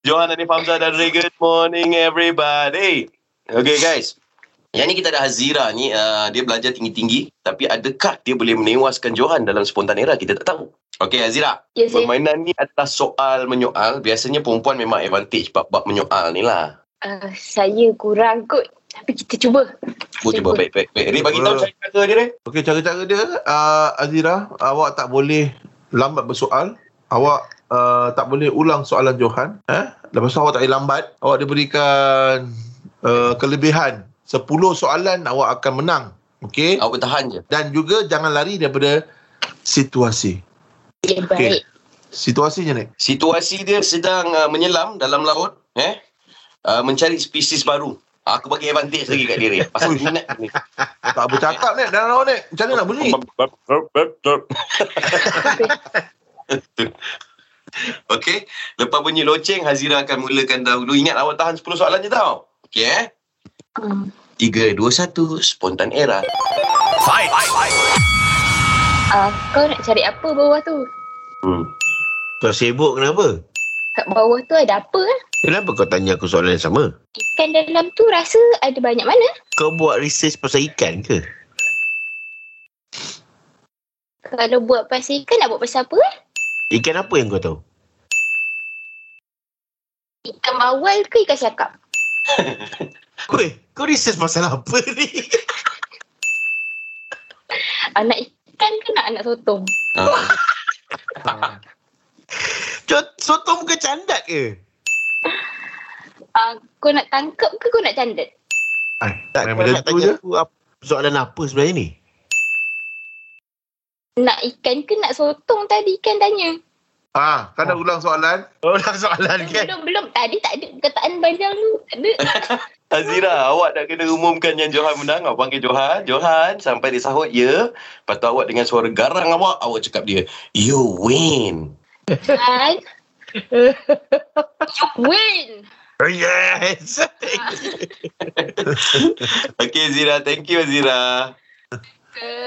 Johan Hanif Hamzah dan Ray. Good morning everybody. Okay guys. Yang ni kita ada Hazira ni, uh, dia belajar tinggi-tinggi tapi adakah dia boleh menewaskan Johan dalam spontan era? Kita tak tahu. Okay Hazira, Ya, saya. permainan ni adalah soal menyoal. Biasanya perempuan memang advantage bab-bab menyoal ni lah. Uh, saya kurang kot. Tapi kita cuba. Aku cuba baik baik baik. Ray bagi tahu cara kata dia Ray. Okey, cara-cara dia, uh, Azira, awak tak boleh lambat bersoal. Awak uh, tak boleh ulang soalan Johan. Eh? Lepas tu awak tak boleh lambat. Awak diberikan uh, kelebihan. 10 soalan awak akan menang. Okey? Awak bertahan je. Dan juga jangan lari daripada situasi. Ya, baik. Situasinya ni. Situasi dia sedang uh, menyelam dalam laut, eh? Uh, mencari spesies baru. Aku bagi advantage lagi kat diri. Pasal minat ni. Tak bercakap ni. Dan awak ni. Macam mana nak bunyi? Okey. Lepas bunyi loceng, Hazira akan mulakan dahulu. Ingat awak tahan 10 soalan je tau. Okey eh. Hmm. 3, 2, 1. Spontan era. Uh, kau nak cari apa bawah tu? Hmm. Kau sibuk kenapa? Kat bawah tu ada apa? eh? Kenapa kau tanya aku soalan yang sama? Ikan dalam tu rasa ada banyak mana? Kau buat research pasal ikan ke? Kalau buat pasal ikan nak buat pasal apa? eh? Ikan apa yang kau tahu? Ikan bawal ke ikan siakap? Weh, kau research pasal apa ni? Anak ikan ke nak anak sotong? Uh, Cot- Sotong muka candat ke? Uh, kau nak tangkap ke kau nak candat? Ay, Tak, main kau benda nak tu tanya je. aku apa, soalan apa sebenarnya ni? Nak ikan ke nak sotong tadi ikan tanya? Ah, kau nak ulang soalan? Oh, dah soalan kan? Belum, belum. Tadi tak ada kataan panjang tu. Tak ada. Hazira, awak nak kena umumkan yang Johan menang. Awak panggil Johan. Johan, sampai dia sahut, ya. Lepas tu awak dengan suara garang awak, awak cakap dia, you win. Kan? you win. Yes! Okay, Zira. Thank you, Zira. Ke